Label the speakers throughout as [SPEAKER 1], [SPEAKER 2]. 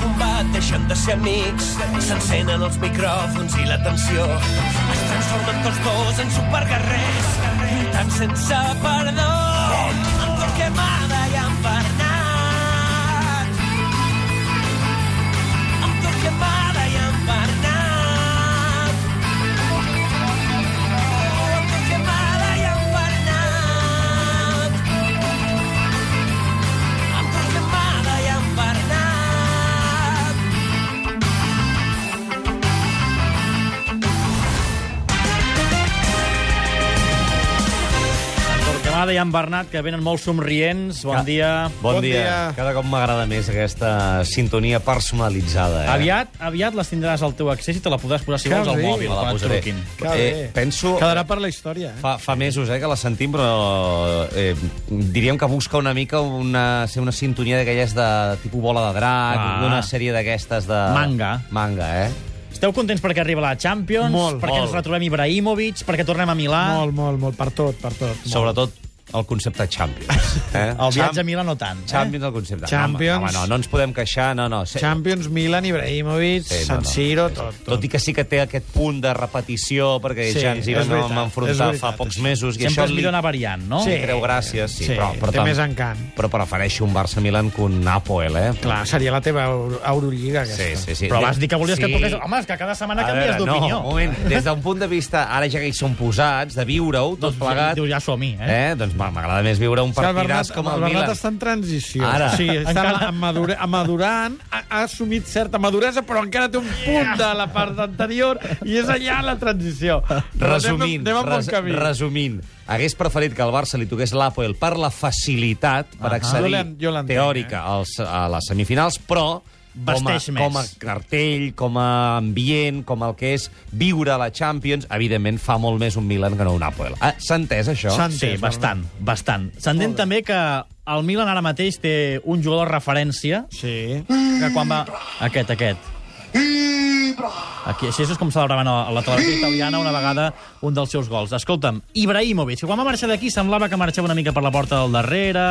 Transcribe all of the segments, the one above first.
[SPEAKER 1] ciutat deixen de ser amics. S'encenen els micròfons i l'atenció. Es transformen tots dos en superguerrers, lluitant sense perdó. En Torquemada i en Bernat. En Torquemada i en Bernat. En Torquemada i en Bernat. Amb Torquemada i en Bernat.
[SPEAKER 2] Torquemada i en Bernat, que venen molt somrients. Bon
[SPEAKER 3] Ca-
[SPEAKER 2] dia.
[SPEAKER 3] Bon,
[SPEAKER 4] Bon
[SPEAKER 3] dia.
[SPEAKER 4] dia.
[SPEAKER 3] Cada cop m'agrada més aquesta sintonia personalitzada. Eh?
[SPEAKER 2] Aviat, aviat les tindràs al teu accés i te la podràs posar, si
[SPEAKER 4] Que
[SPEAKER 2] vols, al
[SPEAKER 4] sí.
[SPEAKER 2] mòbil,
[SPEAKER 3] Me la
[SPEAKER 2] eh? quan et
[SPEAKER 3] posaré.
[SPEAKER 2] truquin.
[SPEAKER 4] Que bé.
[SPEAKER 3] Eh, penso...
[SPEAKER 4] Quedarà per la història, eh?
[SPEAKER 3] Fa, fa mesos eh, que la sentim, però eh, diríem que busca una mica una, ser una sintonia d'aquelles de tipus bola de drac,
[SPEAKER 2] Ah.
[SPEAKER 3] ah. d'una sèrie d'aquestes de...
[SPEAKER 2] Manga.
[SPEAKER 3] Manga, eh?
[SPEAKER 2] Esteu contents perquè arriba la Champions?
[SPEAKER 4] Molt,
[SPEAKER 2] perquè
[SPEAKER 3] molt.
[SPEAKER 2] ens retrobem Ibrahimovic? Perquè tornem a Milà?
[SPEAKER 4] Molt, molt, molt, per tot, per tot. Molt.
[SPEAKER 3] Sobretot el concepte Champions. Eh?
[SPEAKER 2] El viatge a
[SPEAKER 3] Champ-
[SPEAKER 2] Milà no tant. eh?
[SPEAKER 3] Champions, el concepte.
[SPEAKER 4] Champions.
[SPEAKER 3] No, home, no, no ens podem queixar, no, no. Se-
[SPEAKER 4] Champions, Milan, Ibrahimovic, sí, San Siro, tot, tot.
[SPEAKER 3] Tot i que sí que té aquest punt de repetició, perquè
[SPEAKER 4] Sí,
[SPEAKER 3] sí, ja ens hi
[SPEAKER 4] és
[SPEAKER 3] vam
[SPEAKER 4] veritat,
[SPEAKER 3] vam
[SPEAKER 4] és
[SPEAKER 3] enfrontar
[SPEAKER 4] veritat,
[SPEAKER 3] fa pocs
[SPEAKER 4] això.
[SPEAKER 3] mesos. I
[SPEAKER 2] Sempre
[SPEAKER 3] això
[SPEAKER 2] és millor anar variant, no?
[SPEAKER 3] Sí.
[SPEAKER 4] Sí.
[SPEAKER 3] Creu gràcies, sí.
[SPEAKER 4] Sí,
[SPEAKER 3] però, però
[SPEAKER 4] té
[SPEAKER 3] tam-
[SPEAKER 4] més encant.
[SPEAKER 3] Però prefereixo un Barça-Milan que un Napoel, eh?
[SPEAKER 4] Clar, seria la teva Euro- Eurolliga, aquesta.
[SPEAKER 3] Sí, sí, sí.
[SPEAKER 2] Però vas dir que volies
[SPEAKER 3] Sí.
[SPEAKER 2] que et toqués... Home, és que cada setmana
[SPEAKER 3] A
[SPEAKER 2] canvies
[SPEAKER 3] veure,
[SPEAKER 2] d'opinió.
[SPEAKER 3] No, un moment. Des d'un punt de vista, ara ja que hi som posats, de viure-ho, tot
[SPEAKER 2] Doncs
[SPEAKER 3] plegat...
[SPEAKER 2] dius, ja som-hi, eh?
[SPEAKER 3] Eh? Doncs m'a- m'agrada més viure un
[SPEAKER 4] És que el
[SPEAKER 3] partidàs
[SPEAKER 4] Bernat,
[SPEAKER 3] com el,
[SPEAKER 4] el Bernat
[SPEAKER 3] Milan.
[SPEAKER 4] està en transició.
[SPEAKER 3] Ara.
[SPEAKER 4] O sigui, està
[SPEAKER 2] Encara-
[SPEAKER 4] encara... madura, madurant, ha, ha assumit certa maduresa, però encara té un punt de la part anterior i és allà la transició. Però
[SPEAKER 3] Resumint,
[SPEAKER 4] Anem, anem a
[SPEAKER 3] res,
[SPEAKER 4] bon camí.
[SPEAKER 3] resumint, hagués preferit que el Barça li toqués l'Apoel per la facilitat per
[SPEAKER 4] Jo
[SPEAKER 3] accedir
[SPEAKER 4] l'en- jo l'entenc, eh.
[SPEAKER 3] teòrica als, a les semifinals, però com a,
[SPEAKER 2] Vesteix més.
[SPEAKER 3] com a cartell, com a ambient, com el que és viure la Champions, evidentment fa molt més un Milan que no un Apoel. Ah, S'ha entès, això?
[SPEAKER 4] S'ha
[SPEAKER 2] Sí,
[SPEAKER 4] entès,
[SPEAKER 2] bastant, bastant. S'entén també que el Milan ara mateix té un jugador de referència
[SPEAKER 4] Sí.
[SPEAKER 2] que quan va... Aquest, aquest. Aquí, així és com celebraven a la televisió italiana una vegada un dels seus gols. Escolta'm, Ibrahimovic, que quan va marxar d'aquí semblava que marxava una mica per la porta del darrere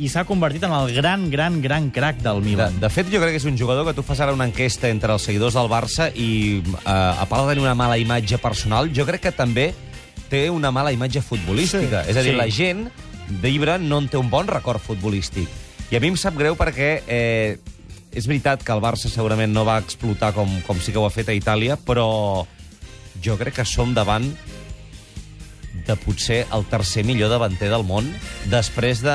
[SPEAKER 2] i s'ha convertit en el gran, gran, gran crack del
[SPEAKER 3] De,
[SPEAKER 2] Milan.
[SPEAKER 3] de fet, jo crec que és un jugador que tu fas ara una enquesta entre els seguidors del Barça i, eh, a part de tenir una mala imatge personal, jo crec que també té una mala imatge futbolística. Sí, és a
[SPEAKER 2] sí.
[SPEAKER 3] dir, sí. la gent d'Ibra no en té un bon record futbolístic. I a mi em sap greu perquè eh, és veritat que el Barça segurament no va explotar com, com sí que ho ha fet a Itàlia, però jo crec que som davant de potser el tercer millor davanter del món després de,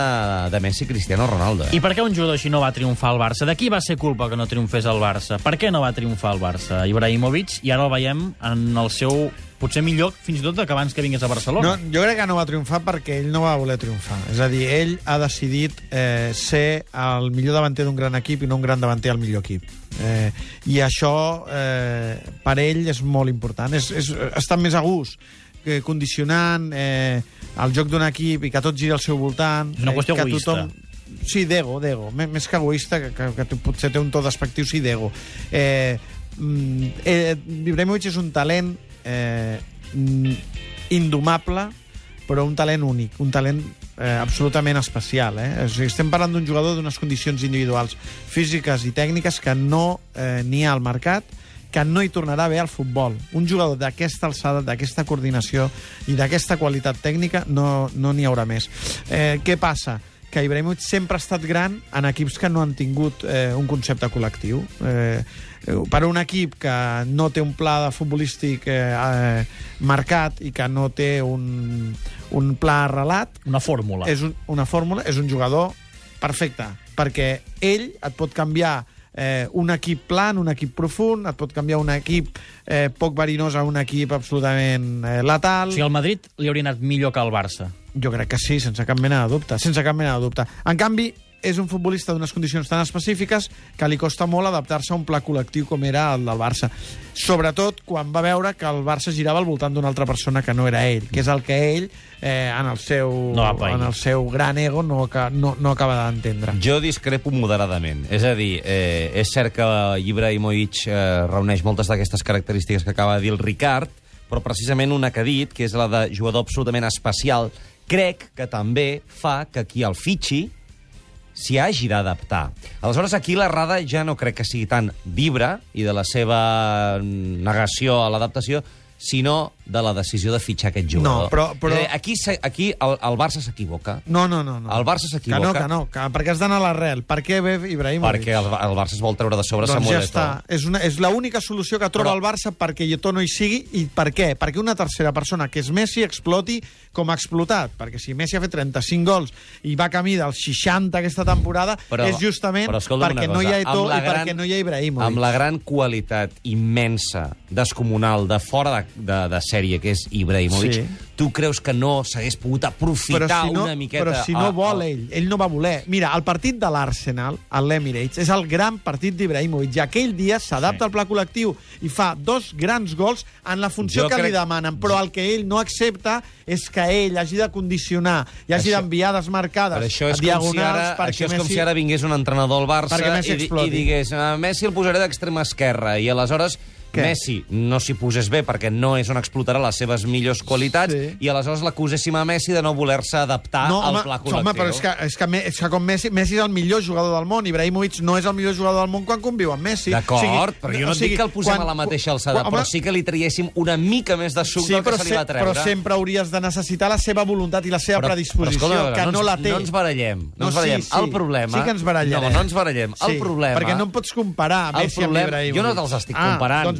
[SPEAKER 3] de Messi i Cristiano Ronaldo. Eh?
[SPEAKER 2] I per què un jugador així no va triomfar al Barça? De qui va ser culpa que no triomfés al Barça? Per què no va triomfar al Barça Ibrahimovic? I ara el veiem en el seu, potser millor, fins i tot de que abans que vingués a
[SPEAKER 4] No,
[SPEAKER 2] Barcelona. No.
[SPEAKER 4] jo crec que no va triomfar perquè ell no va voler triomfar. És a dir, ell ha decidit eh, ser el millor davanter d'un gran equip i no un gran davanter al millor equip. Eh, I això eh, per ell és molt important. És, és, està més a gust eh, condicionant eh, el joc d'un equip i que tot giri al seu voltant.
[SPEAKER 2] És una qüestió
[SPEAKER 4] eh, que
[SPEAKER 2] egoista.
[SPEAKER 4] Sí, d'ego, d'ego. Mé- Més que egoista, que, que, que té- potser té un to despectiu, sí, d'ego. Eh, mm, eh, Ibrahimovic és un talent eh, mm, indomable, però un talent únic, un talent eh, absolutament especial. Eh? O sigui, estem parlant d'un jugador d'unes condicions individuals físiques i tècniques que no eh, n'hi ha al mercat, que no hi tornarà bé al futbol. Un jugador d'aquesta alçada, d'aquesta coordinació i d'aquesta qualitat tècnica no no n'hi haurà més. Eh, què passa? Que Ibrahimovic sempre ha estat gran en equips que no han tingut eh, un concepte col·lectiu. Eh, eh, per un equip que no té un pla de futbolístic eh, eh, marcat i que no té un, un pla arrelat,
[SPEAKER 2] Una fórmula.
[SPEAKER 4] és un, una fórmula, és un jugador perfecte, perquè ell et pot canviar eh, un equip plan, un equip profund, et pot canviar un equip eh, poc verinós a un equip absolutament eh,
[SPEAKER 2] O
[SPEAKER 4] letal.
[SPEAKER 2] sigui, al Madrid li hauria anat millor que al Barça.
[SPEAKER 4] Jo crec que sí, sense cap mena de dubte. Sense cap mena de dubte. En canvi, és un futbolista d'unes condicions tan específiques que li costa molt adaptar-se a un pla col·lectiu com era el del Barça. Sobretot quan va veure que el Barça girava al voltant d'una altra persona que no era ell, que és el que ell, eh, en, el seu,
[SPEAKER 2] No va pair.
[SPEAKER 4] en el seu gran ego, no, aca- no, no acaba d'entendre.
[SPEAKER 3] Jo discrepo moderadament. És a dir, eh, és cert que Ibrahimovic eh, reuneix moltes d'aquestes característiques que acaba de dir el Ricard, però precisament una que ha dit, que és la de jugador absolutament especial, crec que també fa que qui el fitxi s'hi hagi d'adaptar. Aleshores, aquí l'errada ja no crec que sigui tant d'Ibra i de la seva mm, negació a l'adaptació, sinó de la decisió de fitxar aquest jugador.
[SPEAKER 4] No, però- però-
[SPEAKER 3] Eh, Aquí, s'ha- aquí el, el Barça s'equivoca.
[SPEAKER 4] No, no, no. no.
[SPEAKER 3] El Barça s'equivoca.
[SPEAKER 4] Que no, que no. Que, perquè has d'anar a l'arrel. Per què ve Ibrahimovic?
[SPEAKER 3] Perquè el, el Barça es vol treure de sobre
[SPEAKER 4] Doncs
[SPEAKER 3] Samuel
[SPEAKER 4] ja està.
[SPEAKER 3] Eto'o.
[SPEAKER 4] És, una, és l'única solució que troba
[SPEAKER 3] Però-
[SPEAKER 4] el Barça perquè Lletó no hi sigui. I per què? Perquè una tercera persona, que és Messi, exploti com ha explotat. Perquè si Messi ha fet 35 gols i va camí dels 60 aquesta temporada, però, és justament
[SPEAKER 3] però escolta'm
[SPEAKER 4] perquè
[SPEAKER 3] una
[SPEAKER 4] no
[SPEAKER 3] cosa,
[SPEAKER 4] hi ha Eto'o
[SPEAKER 3] amb la
[SPEAKER 4] i perquè no hi ha Ibrahimovic.
[SPEAKER 3] Amb la gran qualitat immensa, descomunal, de fora de, de, de sèrie, que és Ibrahimovic,
[SPEAKER 4] Sí.
[SPEAKER 3] sí. tu creus que no s'hagués pogut aprofitar una miqueta...
[SPEAKER 4] Però si no
[SPEAKER 3] a-
[SPEAKER 4] vol
[SPEAKER 3] a-
[SPEAKER 4] ell, ell no va voler. Mira, el partit de l'Arsenal, a l'Emirates, és el gran partit d'Ibrahimovic. I aquell dia s'adapta al pla col·lectiu i fa dos grans gols en la funció
[SPEAKER 3] Jo
[SPEAKER 4] que li
[SPEAKER 3] crec-
[SPEAKER 4] demanen. Però el que ell no accepta és que ell hagi de condicionar i hagi
[SPEAKER 3] Això-
[SPEAKER 4] d'enviar desmarcades
[SPEAKER 3] Però això és, com si,
[SPEAKER 4] diagonals
[SPEAKER 3] ara,
[SPEAKER 4] perquè
[SPEAKER 3] això és com
[SPEAKER 4] Messi...
[SPEAKER 3] si ara vingués un entrenador al Barça
[SPEAKER 4] Perquè Messi
[SPEAKER 3] i, di-
[SPEAKER 4] exploti.
[SPEAKER 3] i digués "A Messi el posaré d'extrema esquerra i aleshores
[SPEAKER 4] Què?
[SPEAKER 3] Què? Messi no s'hi posés bé perquè no és on explotarà les seves millors qualitats
[SPEAKER 4] Sí.
[SPEAKER 3] i aleshores l'acuséssim a Messi de no voler-se adaptar
[SPEAKER 4] no,
[SPEAKER 3] al
[SPEAKER 4] home,
[SPEAKER 3] pla col·lectiu.
[SPEAKER 4] home, però és que, és, que, Me- és que com Messi, Messi és el millor jugador del món, Ibrahimovic no és el millor jugador del món quan conviu amb Messi.
[SPEAKER 3] D'acord,
[SPEAKER 4] O sigui,
[SPEAKER 3] però jo
[SPEAKER 4] o
[SPEAKER 3] no et
[SPEAKER 4] sigui,
[SPEAKER 3] dic que el posem
[SPEAKER 4] quan-
[SPEAKER 3] a la mateixa alçada,
[SPEAKER 4] quan- home,
[SPEAKER 3] però sí que li traiéssim una mica més de suc
[SPEAKER 4] Sí,
[SPEAKER 3] del que
[SPEAKER 4] però,
[SPEAKER 3] se li va
[SPEAKER 4] se-
[SPEAKER 3] treure.
[SPEAKER 4] però sempre hauries de necessitar la seva voluntat i la seva predisposició,
[SPEAKER 3] escolta,
[SPEAKER 4] que no,
[SPEAKER 3] ens-
[SPEAKER 4] la té.
[SPEAKER 3] No ens barallem. No,
[SPEAKER 4] No,
[SPEAKER 3] ens barallem.
[SPEAKER 4] sí, sí.
[SPEAKER 3] El problema...
[SPEAKER 4] Sí que ens barallarem.
[SPEAKER 3] No, no ens barallem.
[SPEAKER 4] Sí,
[SPEAKER 3] el problema...
[SPEAKER 4] perquè no em pots comparar
[SPEAKER 3] El
[SPEAKER 4] Messi
[SPEAKER 3] problema-
[SPEAKER 4] amb Ibrahimovic.
[SPEAKER 3] jo no te'ls estic
[SPEAKER 4] Ah,
[SPEAKER 3] comparant.
[SPEAKER 4] doncs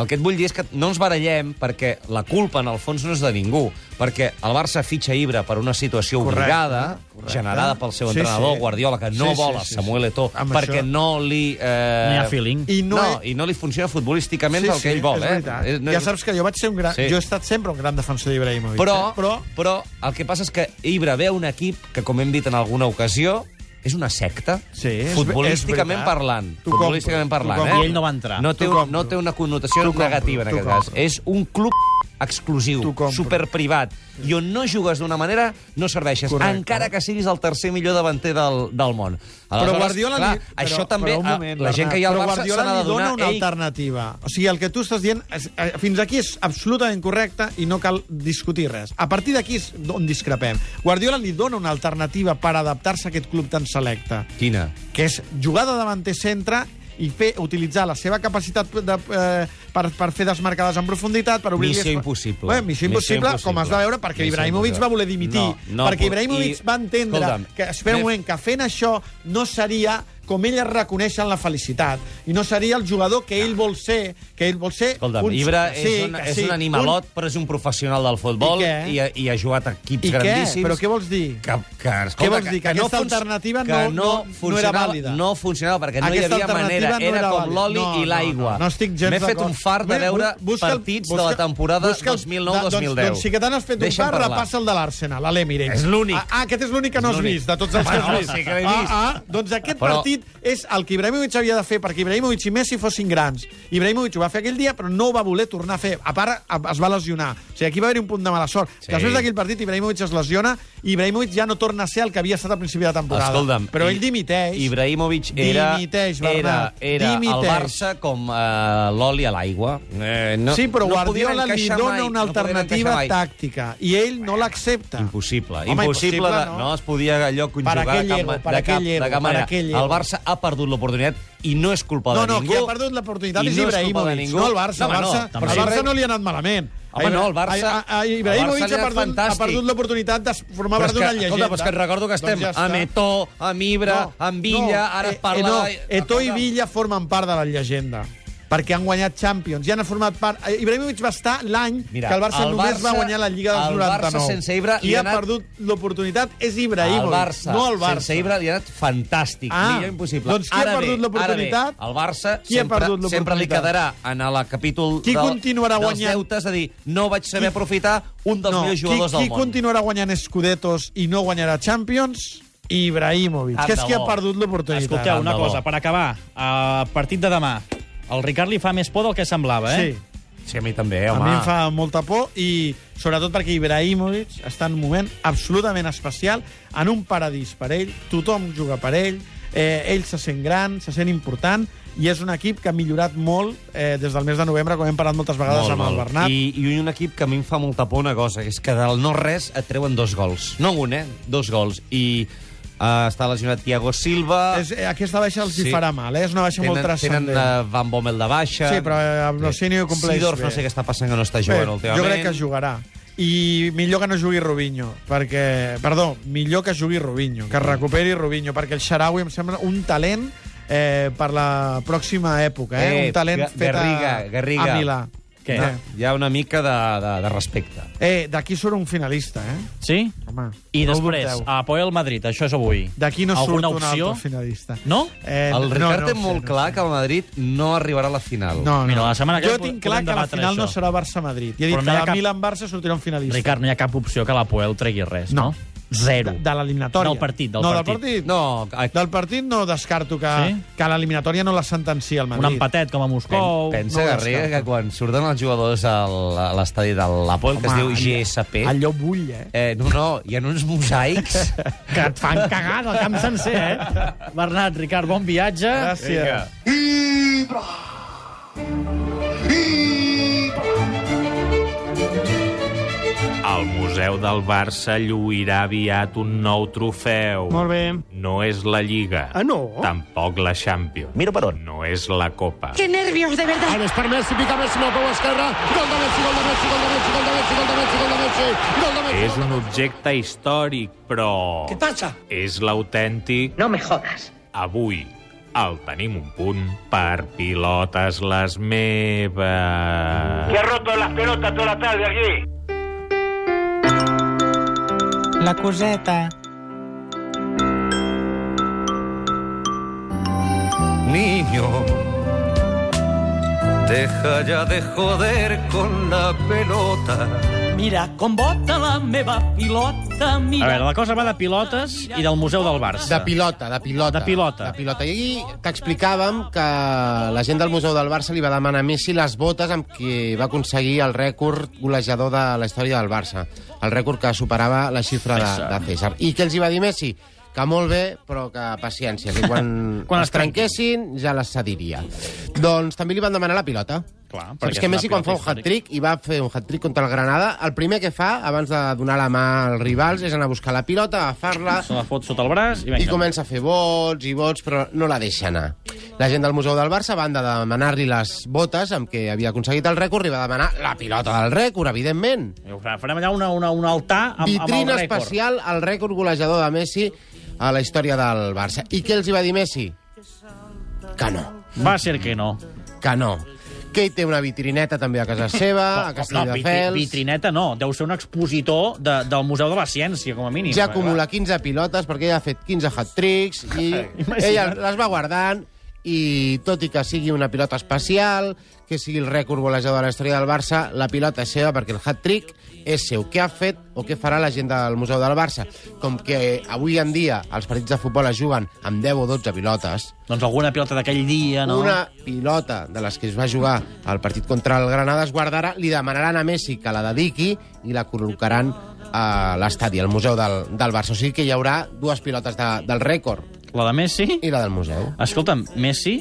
[SPEAKER 3] El que et vull dir és que no ens barallem perquè la culpa, en el fons, no és de ningú. Perquè el Barça fitxa Ibra per una situació
[SPEAKER 4] Correcte,
[SPEAKER 3] obligada,
[SPEAKER 4] correcte.
[SPEAKER 3] generada pel seu
[SPEAKER 4] Sí,
[SPEAKER 3] entrenador,
[SPEAKER 4] sí.
[SPEAKER 3] Guardiola, que no
[SPEAKER 4] Sí, sí,
[SPEAKER 3] vol a
[SPEAKER 4] sí, sí.
[SPEAKER 3] Samuel Eto'o
[SPEAKER 4] Amb
[SPEAKER 3] perquè
[SPEAKER 4] això-
[SPEAKER 3] no li... Eh...
[SPEAKER 2] No hi ha feeling.
[SPEAKER 4] I
[SPEAKER 3] I
[SPEAKER 4] no
[SPEAKER 3] no, no,
[SPEAKER 4] he-
[SPEAKER 3] i no li funciona futbolísticament
[SPEAKER 4] Sí,
[SPEAKER 3] el que
[SPEAKER 4] sí,
[SPEAKER 3] ell vol.
[SPEAKER 4] és
[SPEAKER 3] eh?
[SPEAKER 4] veritat.
[SPEAKER 3] Eh, no
[SPEAKER 4] ja
[SPEAKER 3] és-
[SPEAKER 4] saps que jo vaig ser un gran...
[SPEAKER 3] Sí.
[SPEAKER 4] Jo he estat sempre un gran defensor d'Ibrahimovic.
[SPEAKER 3] però,
[SPEAKER 4] eh? però...
[SPEAKER 3] però, però el que passa és que Ibra ve un equip que, com hem dit en alguna ocasió, és una secta,
[SPEAKER 4] Sí, és-
[SPEAKER 3] futbolísticament
[SPEAKER 4] és veritat.
[SPEAKER 3] parlant.
[SPEAKER 4] T'ho compro,
[SPEAKER 3] futbolísticament
[SPEAKER 4] t'ho
[SPEAKER 3] parlant, eh?
[SPEAKER 4] compro.
[SPEAKER 2] I ell no va entrar.
[SPEAKER 3] No té,
[SPEAKER 4] T'ho
[SPEAKER 3] un,
[SPEAKER 4] compro.
[SPEAKER 3] no té una connotació
[SPEAKER 4] T'ho compro,
[SPEAKER 3] negativa, en
[SPEAKER 4] t'ho
[SPEAKER 3] aquest cas.
[SPEAKER 4] compro.
[SPEAKER 3] És un club exclusiu,
[SPEAKER 4] T'ho compro.
[SPEAKER 3] superprivat, i on no jugues d'una manera, no serveixes,
[SPEAKER 4] Correcte.
[SPEAKER 3] encara que siguis el tercer millor davanter del, del món. Aleshores,
[SPEAKER 4] Guardiola
[SPEAKER 3] clar,
[SPEAKER 4] li-
[SPEAKER 3] això
[SPEAKER 4] però-
[SPEAKER 3] també,
[SPEAKER 4] però un
[SPEAKER 3] a-
[SPEAKER 4] moment,
[SPEAKER 3] la gent que hi ha al
[SPEAKER 4] Bernat, però
[SPEAKER 3] Barça se
[SPEAKER 4] Guardiola
[SPEAKER 3] n'ha de
[SPEAKER 4] li dona
[SPEAKER 3] donar...
[SPEAKER 4] una
[SPEAKER 3] "Ei,
[SPEAKER 4] alternativa. O sigui, el que tu estàs dient és, eh, fins aquí és absolutament correcte i no cal discutir res. A partir d'aquí és on discrepem. Guardiola li dona una alternativa per adaptar-se a aquest club tan selecte,
[SPEAKER 3] Quina?
[SPEAKER 4] que és jugar de davanter centre i fer, utilitzar la seva capacitat de, eh, per, per fer desmarcades en profunditat, per obrir...
[SPEAKER 3] Missió impossible.
[SPEAKER 4] Bueno, missió,
[SPEAKER 3] Missió
[SPEAKER 4] impossible,
[SPEAKER 3] impossible.
[SPEAKER 4] com es va veure, perquè
[SPEAKER 3] Missió
[SPEAKER 4] Ibrahimovic
[SPEAKER 3] impossible.
[SPEAKER 4] va voler dimitir.
[SPEAKER 3] No, no
[SPEAKER 4] perquè
[SPEAKER 3] pot-
[SPEAKER 4] Ibrahimovic
[SPEAKER 3] i-
[SPEAKER 4] va entendre
[SPEAKER 3] Escolta'm,
[SPEAKER 4] que, espera un
[SPEAKER 3] Pep-
[SPEAKER 4] moment, que fent això no seria com ell es reconeix en la felicitat i no seria el jugador que ell vol ser que ell vol ser
[SPEAKER 3] Escolta'm,
[SPEAKER 4] un-
[SPEAKER 3] Ibra és,
[SPEAKER 4] sí,
[SPEAKER 3] un,
[SPEAKER 4] que
[SPEAKER 3] és
[SPEAKER 4] sí,
[SPEAKER 3] un animalot, un... però és un professional del futbol
[SPEAKER 4] I
[SPEAKER 3] i,
[SPEAKER 4] què?
[SPEAKER 3] i, ha, i ha jugat a equips
[SPEAKER 4] I què?
[SPEAKER 3] grandíssims.
[SPEAKER 4] Però què vols dir?
[SPEAKER 3] Que, que, escolta,
[SPEAKER 4] Què vols dir? Que aquesta
[SPEAKER 3] func-
[SPEAKER 4] alternativa
[SPEAKER 3] que
[SPEAKER 4] no- no- no
[SPEAKER 3] funcionava-
[SPEAKER 4] era vàlida.
[SPEAKER 3] No funcionava, perquè no
[SPEAKER 4] Aquesta
[SPEAKER 3] hi havia
[SPEAKER 4] alternativa
[SPEAKER 3] manera.
[SPEAKER 4] no
[SPEAKER 3] era
[SPEAKER 4] era
[SPEAKER 3] com
[SPEAKER 4] vàlida.
[SPEAKER 3] l'oli
[SPEAKER 4] No,
[SPEAKER 3] i
[SPEAKER 4] no,
[SPEAKER 3] l'aigua.
[SPEAKER 4] no, no estic gens
[SPEAKER 3] M'he fet un
[SPEAKER 4] d'acord.
[SPEAKER 3] fart de
[SPEAKER 4] Bé,
[SPEAKER 3] veure
[SPEAKER 4] bu- busca el-
[SPEAKER 3] partits
[SPEAKER 4] busca-
[SPEAKER 3] de la temporada
[SPEAKER 4] busca el- da-
[SPEAKER 3] 2009-2010.
[SPEAKER 4] Doncs, doncs si que t'han has fet un
[SPEAKER 3] Deixa'm
[SPEAKER 4] fart,
[SPEAKER 3] parlar.
[SPEAKER 4] repassa el de l'Arsenal, a l'Emirates.
[SPEAKER 3] És l'únic.
[SPEAKER 4] Ah, ah, aquest és l'únic que no
[SPEAKER 3] És
[SPEAKER 4] has
[SPEAKER 3] l'únic.
[SPEAKER 4] vist, de tots els que has
[SPEAKER 3] Bueno,
[SPEAKER 4] vist.
[SPEAKER 3] sí que l'he vist.
[SPEAKER 4] Ah, ah, doncs aquest
[SPEAKER 3] Però-
[SPEAKER 4] partit és el que Ibrahimovic havia de fer perquè Ibrahimovic i Messi fossin grans. Ibrahimovic ho va fer aquell dia, però no ho va voler tornar a fer. A part, a- es va lesionar. O sigui, aquí va haver-hi un punt de mala sort.
[SPEAKER 3] Sí.
[SPEAKER 4] Després d'aquell partit, Ibrahimovic es lesiona i Ibrahimovic ja no torna a ser el que havia estat al principi de temporada.
[SPEAKER 3] Escolta'm,
[SPEAKER 4] però
[SPEAKER 3] I-
[SPEAKER 4] ell dimiteix.
[SPEAKER 3] Ibrahimovic era,
[SPEAKER 4] Dimiteix,
[SPEAKER 3] era,
[SPEAKER 4] Bernat,
[SPEAKER 3] era el
[SPEAKER 4] dimiteix.
[SPEAKER 3] Barça com eh, l'oli a l'aigua. Eh, no,
[SPEAKER 4] sí, però
[SPEAKER 3] no
[SPEAKER 4] Guardiola
[SPEAKER 3] podien
[SPEAKER 4] li
[SPEAKER 3] encaixar
[SPEAKER 4] dona
[SPEAKER 3] mai,
[SPEAKER 4] una
[SPEAKER 3] no podien
[SPEAKER 4] alternativa
[SPEAKER 3] encaixar mai.
[SPEAKER 4] tàctica i ell no l'accepta.
[SPEAKER 3] Impossible.
[SPEAKER 4] Home,
[SPEAKER 3] impossible,
[SPEAKER 4] impossible,
[SPEAKER 3] de,
[SPEAKER 4] no.
[SPEAKER 3] no. es podia allò conjugar
[SPEAKER 4] Per aquell
[SPEAKER 3] de cap,
[SPEAKER 4] ego, per
[SPEAKER 3] de cap,
[SPEAKER 4] aquell ego,
[SPEAKER 3] de cap
[SPEAKER 4] per
[SPEAKER 3] manera.
[SPEAKER 4] aquell ego.
[SPEAKER 3] El Barça ha perdut l'oportunitat i no és culpa
[SPEAKER 4] No,
[SPEAKER 3] de
[SPEAKER 4] no,
[SPEAKER 3] ningú.
[SPEAKER 4] qui ha perdut l'oportunitat
[SPEAKER 3] I
[SPEAKER 4] és
[SPEAKER 3] no culpa de
[SPEAKER 4] Ibrahimovic,
[SPEAKER 3] ningú.
[SPEAKER 4] no el Barça.
[SPEAKER 3] home,
[SPEAKER 4] el
[SPEAKER 2] no,
[SPEAKER 4] Barça, no,
[SPEAKER 2] també.
[SPEAKER 4] el Barça no li ha anat malament.
[SPEAKER 3] Home, no, el Barça-
[SPEAKER 4] A, a, a
[SPEAKER 3] el Barça
[SPEAKER 4] Ibrahimovic
[SPEAKER 3] li ha
[SPEAKER 4] ha
[SPEAKER 3] anat
[SPEAKER 4] perdut, ha
[SPEAKER 3] fantàstic.
[SPEAKER 4] perdut l'oportunitat de formar
[SPEAKER 3] Però
[SPEAKER 4] part
[SPEAKER 3] és
[SPEAKER 4] d'una
[SPEAKER 3] que,
[SPEAKER 4] llegenda.
[SPEAKER 3] escolta, però és que et recordo que estem
[SPEAKER 4] Doncs ja
[SPEAKER 3] amb
[SPEAKER 4] està.
[SPEAKER 3] Eto, amb Ibra, amb Villa, ara es parla...
[SPEAKER 4] Eh, no, Eto i Villa formen part de la llegenda perquè han guanyat Champions, ja han format part... Eh, Ibrahimovic va estar l'any que
[SPEAKER 3] Mira,
[SPEAKER 4] el Barça
[SPEAKER 3] el
[SPEAKER 4] només va
[SPEAKER 3] Barça-
[SPEAKER 4] guanyar la Lliga dels
[SPEAKER 3] el
[SPEAKER 4] 99.
[SPEAKER 3] Barça sense Ibra
[SPEAKER 4] Qui
[SPEAKER 3] li ha
[SPEAKER 4] ha
[SPEAKER 3] anat-
[SPEAKER 4] perdut l'oportunitat és
[SPEAKER 3] El
[SPEAKER 4] Ibrahimovic,
[SPEAKER 3] Barça,
[SPEAKER 4] no el Barça.
[SPEAKER 3] sense Ibra, li ha anat fantàstic.
[SPEAKER 4] Ah,
[SPEAKER 3] millor impossible.
[SPEAKER 4] doncs qui ha
[SPEAKER 3] Ara bé,
[SPEAKER 4] perdut l'oportunitat?
[SPEAKER 3] ara bé, El Barça
[SPEAKER 4] Qui ha
[SPEAKER 3] sempre,
[SPEAKER 4] perdut
[SPEAKER 3] sempre li
[SPEAKER 4] l'oportunitat?
[SPEAKER 3] quedarà en el capítol
[SPEAKER 4] Qui continuarà
[SPEAKER 3] dels
[SPEAKER 4] guanyant?
[SPEAKER 3] deutes, de dir, no vaig saber aprofitar un dels millors jugadors
[SPEAKER 4] qui, qui
[SPEAKER 3] del món.
[SPEAKER 4] continuarà guanyant Scudettos i no guanyarà Champions? Ibrahimovic,
[SPEAKER 3] Tant
[SPEAKER 4] que és
[SPEAKER 3] Ah, de
[SPEAKER 4] qui ha
[SPEAKER 3] bo.
[SPEAKER 4] perdut l'oportunitat. eh?
[SPEAKER 2] Escolteu, una
[SPEAKER 3] Tant de bo.
[SPEAKER 2] cosa, per acabar, a partit de demà. El Ricard li fa més por del que semblava, eh?
[SPEAKER 4] Sí.
[SPEAKER 3] Sí, a mi també,
[SPEAKER 4] A
[SPEAKER 3] Eh, home.
[SPEAKER 4] mi em fa molta por i sobretot perquè Ibrahimovic està en un moment absolutament especial, en un paradís per ell, tothom juga per ell, eh, ell se sent gran, se sent important i és un equip que ha millorat molt eh, des del mes de novembre, com hem parlat moltes vegades
[SPEAKER 3] Molt,
[SPEAKER 4] amb el
[SPEAKER 3] molt.
[SPEAKER 4] Bernat.
[SPEAKER 3] I, I un equip que a mi em fa molta por una cosa, és que del no-res et treuen dos gols. No un, eh? Dos gols. I uh, està lesionat Thiago Silva...
[SPEAKER 4] És, eh, aquesta baixa els sí.
[SPEAKER 3] Sí.
[SPEAKER 4] hi farà mal, eh? és una baixa molt
[SPEAKER 3] Tenen,
[SPEAKER 4] transcendent.
[SPEAKER 3] tenen uh, Van Bommel de baixa...
[SPEAKER 4] Sí, però, eh, amb Rossini ho compleix
[SPEAKER 3] Sidorf,
[SPEAKER 4] bé.
[SPEAKER 3] no sé què està passant, que no està
[SPEAKER 4] Bé,
[SPEAKER 3] jugant últimament.
[SPEAKER 4] jo crec que jugarà. I millor que no jugui Robinho, perquè... Perdó, millor que jugui Robinho, que es recuperi Robinho, perquè el Xaraui em sembla un talent eh, per la pròxima època, eh?
[SPEAKER 3] Eh,
[SPEAKER 4] un talent
[SPEAKER 3] Ga-
[SPEAKER 4] fet a,
[SPEAKER 3] Garriga, Garriga.
[SPEAKER 4] a Milà.
[SPEAKER 2] Què?
[SPEAKER 4] No.
[SPEAKER 3] Hi ha una mica de, de, de respecte.
[SPEAKER 4] Eh, d'aquí surt un finalista, eh?
[SPEAKER 2] Sí?
[SPEAKER 4] Home,
[SPEAKER 2] I
[SPEAKER 4] no ho
[SPEAKER 2] després,
[SPEAKER 4] dubteu.
[SPEAKER 2] a Apoel Madrid, això és avui.
[SPEAKER 4] D'aquí no surt
[SPEAKER 2] Alguna
[SPEAKER 4] un
[SPEAKER 2] opció?
[SPEAKER 4] altre finalista.
[SPEAKER 2] No?
[SPEAKER 4] Eh,
[SPEAKER 3] El Ricard
[SPEAKER 4] no, no,
[SPEAKER 3] té
[SPEAKER 4] ho sé,
[SPEAKER 3] molt
[SPEAKER 4] no
[SPEAKER 3] clar
[SPEAKER 4] ho sé.
[SPEAKER 3] que el Madrid no arribarà a la final.
[SPEAKER 4] No, no.
[SPEAKER 2] Mira, la setmana que
[SPEAKER 4] jo
[SPEAKER 2] ve
[SPEAKER 4] tinc
[SPEAKER 2] podem
[SPEAKER 4] clar que la
[SPEAKER 2] debatre
[SPEAKER 4] final no
[SPEAKER 2] això.
[SPEAKER 4] serà Barça-Madrid. I he dit
[SPEAKER 2] Però no
[SPEAKER 4] que
[SPEAKER 2] hi ha
[SPEAKER 4] la
[SPEAKER 2] cap-
[SPEAKER 4] Milan-Barça sortirà un finalista.
[SPEAKER 2] Ricard, no hi ha cap opció que l'Apoel tregui res, no?
[SPEAKER 4] No.
[SPEAKER 2] Zero.
[SPEAKER 4] de, de l'eliminatòria.
[SPEAKER 2] Del partit, del
[SPEAKER 4] no,
[SPEAKER 2] partit.
[SPEAKER 4] Del partit.
[SPEAKER 3] no a-
[SPEAKER 4] Del partit no descarto que, sí?
[SPEAKER 2] Sí?
[SPEAKER 4] que l'eliminatòria no la sentencia
[SPEAKER 2] Un
[SPEAKER 4] el Madrid.
[SPEAKER 2] empatet com a Moscou.
[SPEAKER 3] Pen- Pensa,
[SPEAKER 4] no ho
[SPEAKER 3] Garriga,
[SPEAKER 4] descarto.
[SPEAKER 3] que quan surten els jugadors al- a l'estadi de l'Apol, que es diu
[SPEAKER 4] allò-
[SPEAKER 3] GSP...
[SPEAKER 4] Allò bull, eh?
[SPEAKER 3] Eh, no, no, hi ha uns mosaics...
[SPEAKER 2] Que et fan cagar del camp sencer, eh? Bernat, Ricard, bon viatge.
[SPEAKER 4] Gràcies.
[SPEAKER 3] Vinga.
[SPEAKER 5] El Museu del Barça lluirà aviat un nou trofeu.
[SPEAKER 6] Molt bé.
[SPEAKER 5] No és la Lliga.
[SPEAKER 6] Ah, no?
[SPEAKER 5] Tampoc la Champions.
[SPEAKER 1] Miro per on.
[SPEAKER 5] No és la Copa.
[SPEAKER 7] ¡Qué nervios, de verdad!
[SPEAKER 8] Alves per Messi, pica Messi amb el peu esquerre. Gol de Messi, gol de Messi, gol de Messi, gol de Messi, gol de Messi, gol de Messi, gol de Messi.
[SPEAKER 5] És un objecte històric, però... Què passa? És l'autèntic...
[SPEAKER 7] No me jodas.
[SPEAKER 5] Avui el tenim un punt per pilotes les meves...
[SPEAKER 9] La coseta.
[SPEAKER 3] Niño, deja ya de joder con la pelota.
[SPEAKER 9] Mira com bota la meva pilota,
[SPEAKER 2] A
[SPEAKER 9] mira.
[SPEAKER 2] veure, la cosa va de pilotes i del Museu del Barça.
[SPEAKER 10] De pilota, de pilota.
[SPEAKER 2] De pilota.
[SPEAKER 10] De pilota. I t'explicàvem que la gent del Museu del Barça li va demanar a Messi les botes amb qui va aconseguir el rècord golejador de la història del Barça. El rècord que superava la xifra de, de César. I què els hi va dir Messi? Que molt bé, però que paciència, que quan,
[SPEAKER 2] Quan es
[SPEAKER 10] es
[SPEAKER 2] trenqui.
[SPEAKER 10] trenquessin ja les cediria. doncs també li van demanar la pilota.
[SPEAKER 2] Clar, perquè
[SPEAKER 10] Saps
[SPEAKER 2] és
[SPEAKER 10] que
[SPEAKER 2] una
[SPEAKER 10] Messi quan fa
[SPEAKER 2] pilota
[SPEAKER 10] un hat-trick i va fer un hat-trick contra el Granada, el primer que fa, abans de donar la mà als rivals, és anar a buscar la pilota, agafar-la,
[SPEAKER 2] Se la fot sota el braç i
[SPEAKER 10] i
[SPEAKER 2] vinga.
[SPEAKER 10] comença a fer vots i vots, però no la deixa anar. La gent del Museu del Barça, a banda de demanar-li les botes amb què havia aconseguit el rècord, li va demanar la pilota del rècord, evidentment.
[SPEAKER 2] Ho fa- Farem allà una, una, un altar amb, amb el
[SPEAKER 10] Vitrina
[SPEAKER 2] rècord.
[SPEAKER 10] especial al rècord golejador de Messi a la història del Barça. I què els hi va dir Messi? Que no,
[SPEAKER 2] Va ser que no.
[SPEAKER 10] que no. Que hi té una vitrineta també a casa seva, a
[SPEAKER 2] vitri-
[SPEAKER 10] Castelldefels...
[SPEAKER 2] vitrineta no, deu ser un expositor de, del Museu de la Ciència, com a mínim. eh,
[SPEAKER 10] Ja acumula 15 pilotes perquè ella ha fet 15 hat-tricks i ella les va guardant i tot i que sigui una pilota especial, que sigui el rècord golejador de la història del Barça, la pilota és seva perquè el hat-trick és seu. Què ha fet o què farà la gent del Museu del Barça? Com que avui en dia els partits de futbol es juguen amb 10 o 12 pilotes,
[SPEAKER 2] Doncs alguna pilota d'aquell dia, Ah, no?
[SPEAKER 10] una pilota de les que es va jugar al partit contra el Granada es guardarà, li demanaran a Messi que la dediqui i la col·locaran a l'estadi, al museu del, del Barça. O sigui que hi haurà dues pilotes de, del rècord
[SPEAKER 2] La de Messi?
[SPEAKER 10] i la del museu.
[SPEAKER 2] Escolta'm, Messi,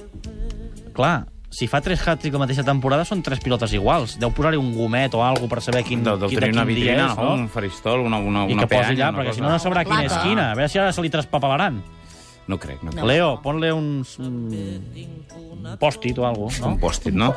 [SPEAKER 2] clar, si fa tres hat-trick la mateixa temporada, són tres pilotes iguals. Deu posar-hi un gomet o alguna per saber quin,
[SPEAKER 11] Deu, deu
[SPEAKER 2] qui-
[SPEAKER 11] tenir una
[SPEAKER 2] quin dia
[SPEAKER 11] vitrina,
[SPEAKER 2] és,
[SPEAKER 11] no? un faristol, una, una,
[SPEAKER 2] I
[SPEAKER 11] una
[SPEAKER 2] que posi allà,
[SPEAKER 11] peanya, una
[SPEAKER 2] perquè si
[SPEAKER 11] cosa.
[SPEAKER 2] no, no sabrà quina és quina. A veure si ara se li traspapalaran.
[SPEAKER 11] No crec, no crec.
[SPEAKER 2] Leo, pon-li uns... Un, un pòstit o alguna cosa,
[SPEAKER 11] Un
[SPEAKER 2] no?
[SPEAKER 11] pòstit, no?